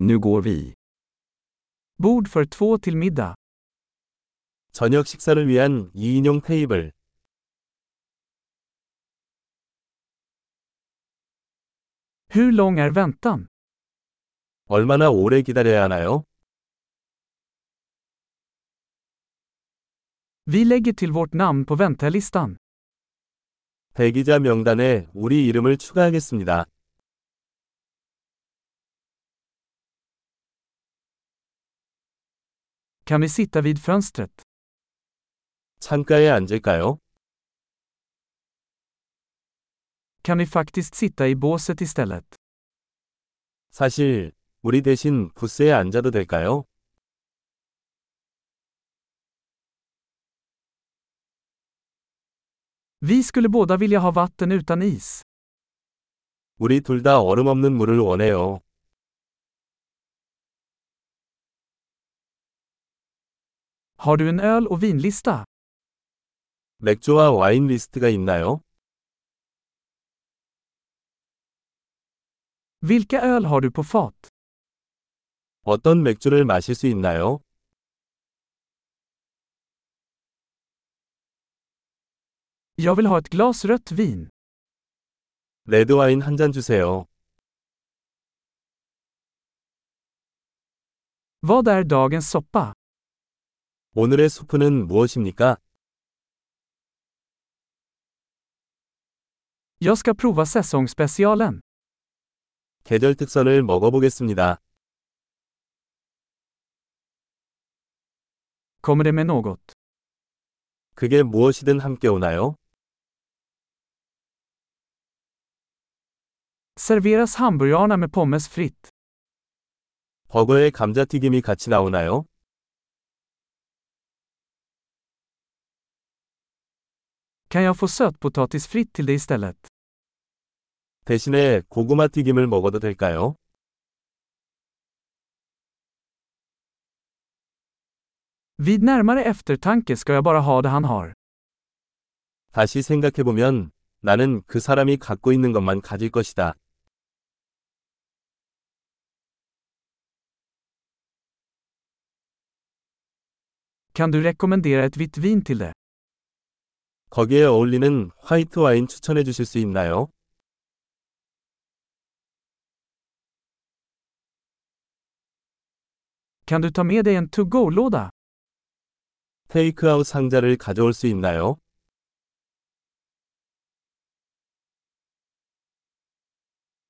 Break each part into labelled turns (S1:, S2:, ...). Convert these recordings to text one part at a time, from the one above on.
S1: Nu går vi.
S2: Bord för två till middag.
S3: 저녁 식사를 위한 2인용 테이블.
S2: Hur lång är väntan?
S3: 얼마나 오래 기다려야 하나요?
S2: Vi lägger till vårt namn på väntelistan.
S3: 대기자 명단에 우리 이름을 추가하겠습니다.
S2: Kan vi sitta vid fönstret?
S3: 창가에 앉을까요?
S2: Kan vi faktiskt sitta i båset istället?
S3: 사실, 우리 대신 부스에 앉아도 될까요?
S2: Vi skulle båda vilja ha vatten utan is.
S3: 우리 둘 다 얼음 없는 물을 원해요.
S2: Har du en öl och vinlista?
S3: 맥주와 와인 리스트가 있나요?
S2: Vilka öl har du på fat?
S3: 어떤 맥주를 마실 수 있나요?
S2: Jag vill ha ett glas rött vin.
S3: 레드 와인 한 잔 주세요.
S2: Vad är dagens soppa?
S3: 오늘의 수프는 무엇입니까?
S2: Jag ska prova säsongsspecialen.
S3: 계절 특선을 먹어보겠습니다.
S2: Kommer det med något?
S3: 그게 무엇이든 함께 오나요?
S2: Serveras hamburgarna med pommes fritt?
S3: 버거에 감자튀김이 같이 나오나요?
S2: Kan jag få sötpotatis fritt till det istället?
S3: 대신에 고구마 튀김을 먹어도 될까요?
S2: Vid närmare eftertanke ska jag bara ha det han har.
S3: 다시 생각해보면 나는 그 사람이 갖고 있는 것만 가질 것이다.
S2: Kan du rekommendera ett vitt vin till det?
S3: 거기에 어울리는 화이트 와인 추천해 주실 수 있나요?
S2: Kan du ta med dig en to-go-låda?
S3: 테이크아웃 상자를 가져올 수 있나요?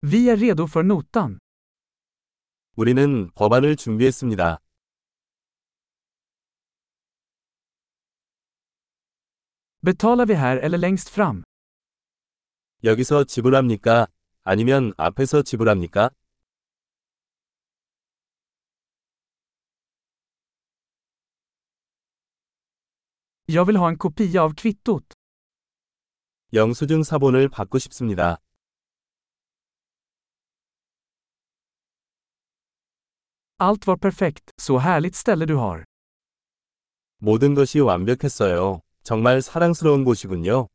S2: Vi är redo för notan.
S3: 우리는 법안을 준비했습니다.
S2: Betalar vi här eller längst fram?
S3: 여기서 지불합니까? 아니면 앞에서 지불합니까?
S2: Jag vill ha en kopia av kvittot.
S3: 영수증 사본을 받고 싶습니다.
S2: Allt var perfekt, så härligt ställe du har.
S3: 모든 것이 완벽했어요. 정말 사랑스러운 곳이군요.